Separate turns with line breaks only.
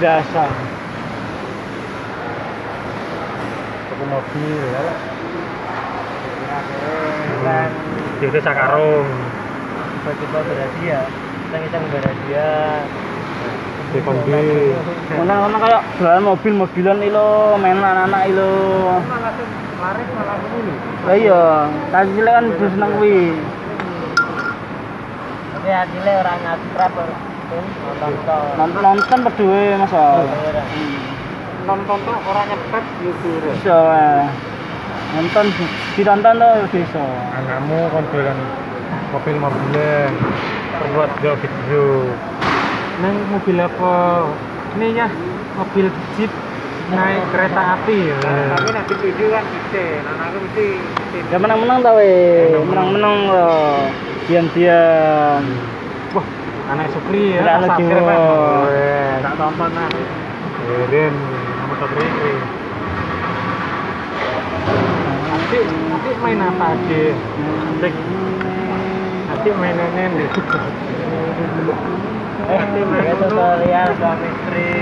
dasar toko mobil ya Pak.
dan
Jadi sakarung.
tiba-tiba beradia iseng-iseng beradia
Di kombi.
Menang ono kayak jalan mobil-mobilan ilo, main anak-anak ilo.
Malah langsung laris malah ini
Lah iya, tadi cilik kan terus nang kuwi.
tapi hasilnya orang ngabrak orang nonton nonton
Nonton nonton berdua Mas. Al.
nonton tuh orang nyepet gitu
Iso. eh. Nonton ditonton tuh bisa.
Anakmu kan jalan mobil mobilan. Terbuat dia video.
Neng mobil apa? Ini ya mobil jeep naik kereta api. ya.
Nah.
Tapi nanti tujuh kan bisa, anak aku mesti
Ya menang-menang ta we, menang-menang lo. Diam-diam.
Wah, anak Supri ya.
Lah, lagi
Sapir, Pak.
mau.
Weh, Tak tonton lah.
Kemudian kamu tak beri.
Nanti nanti main apa aja? Nanti nanti
Eh,
mainannya nih. Nanti main tutorial suami istri.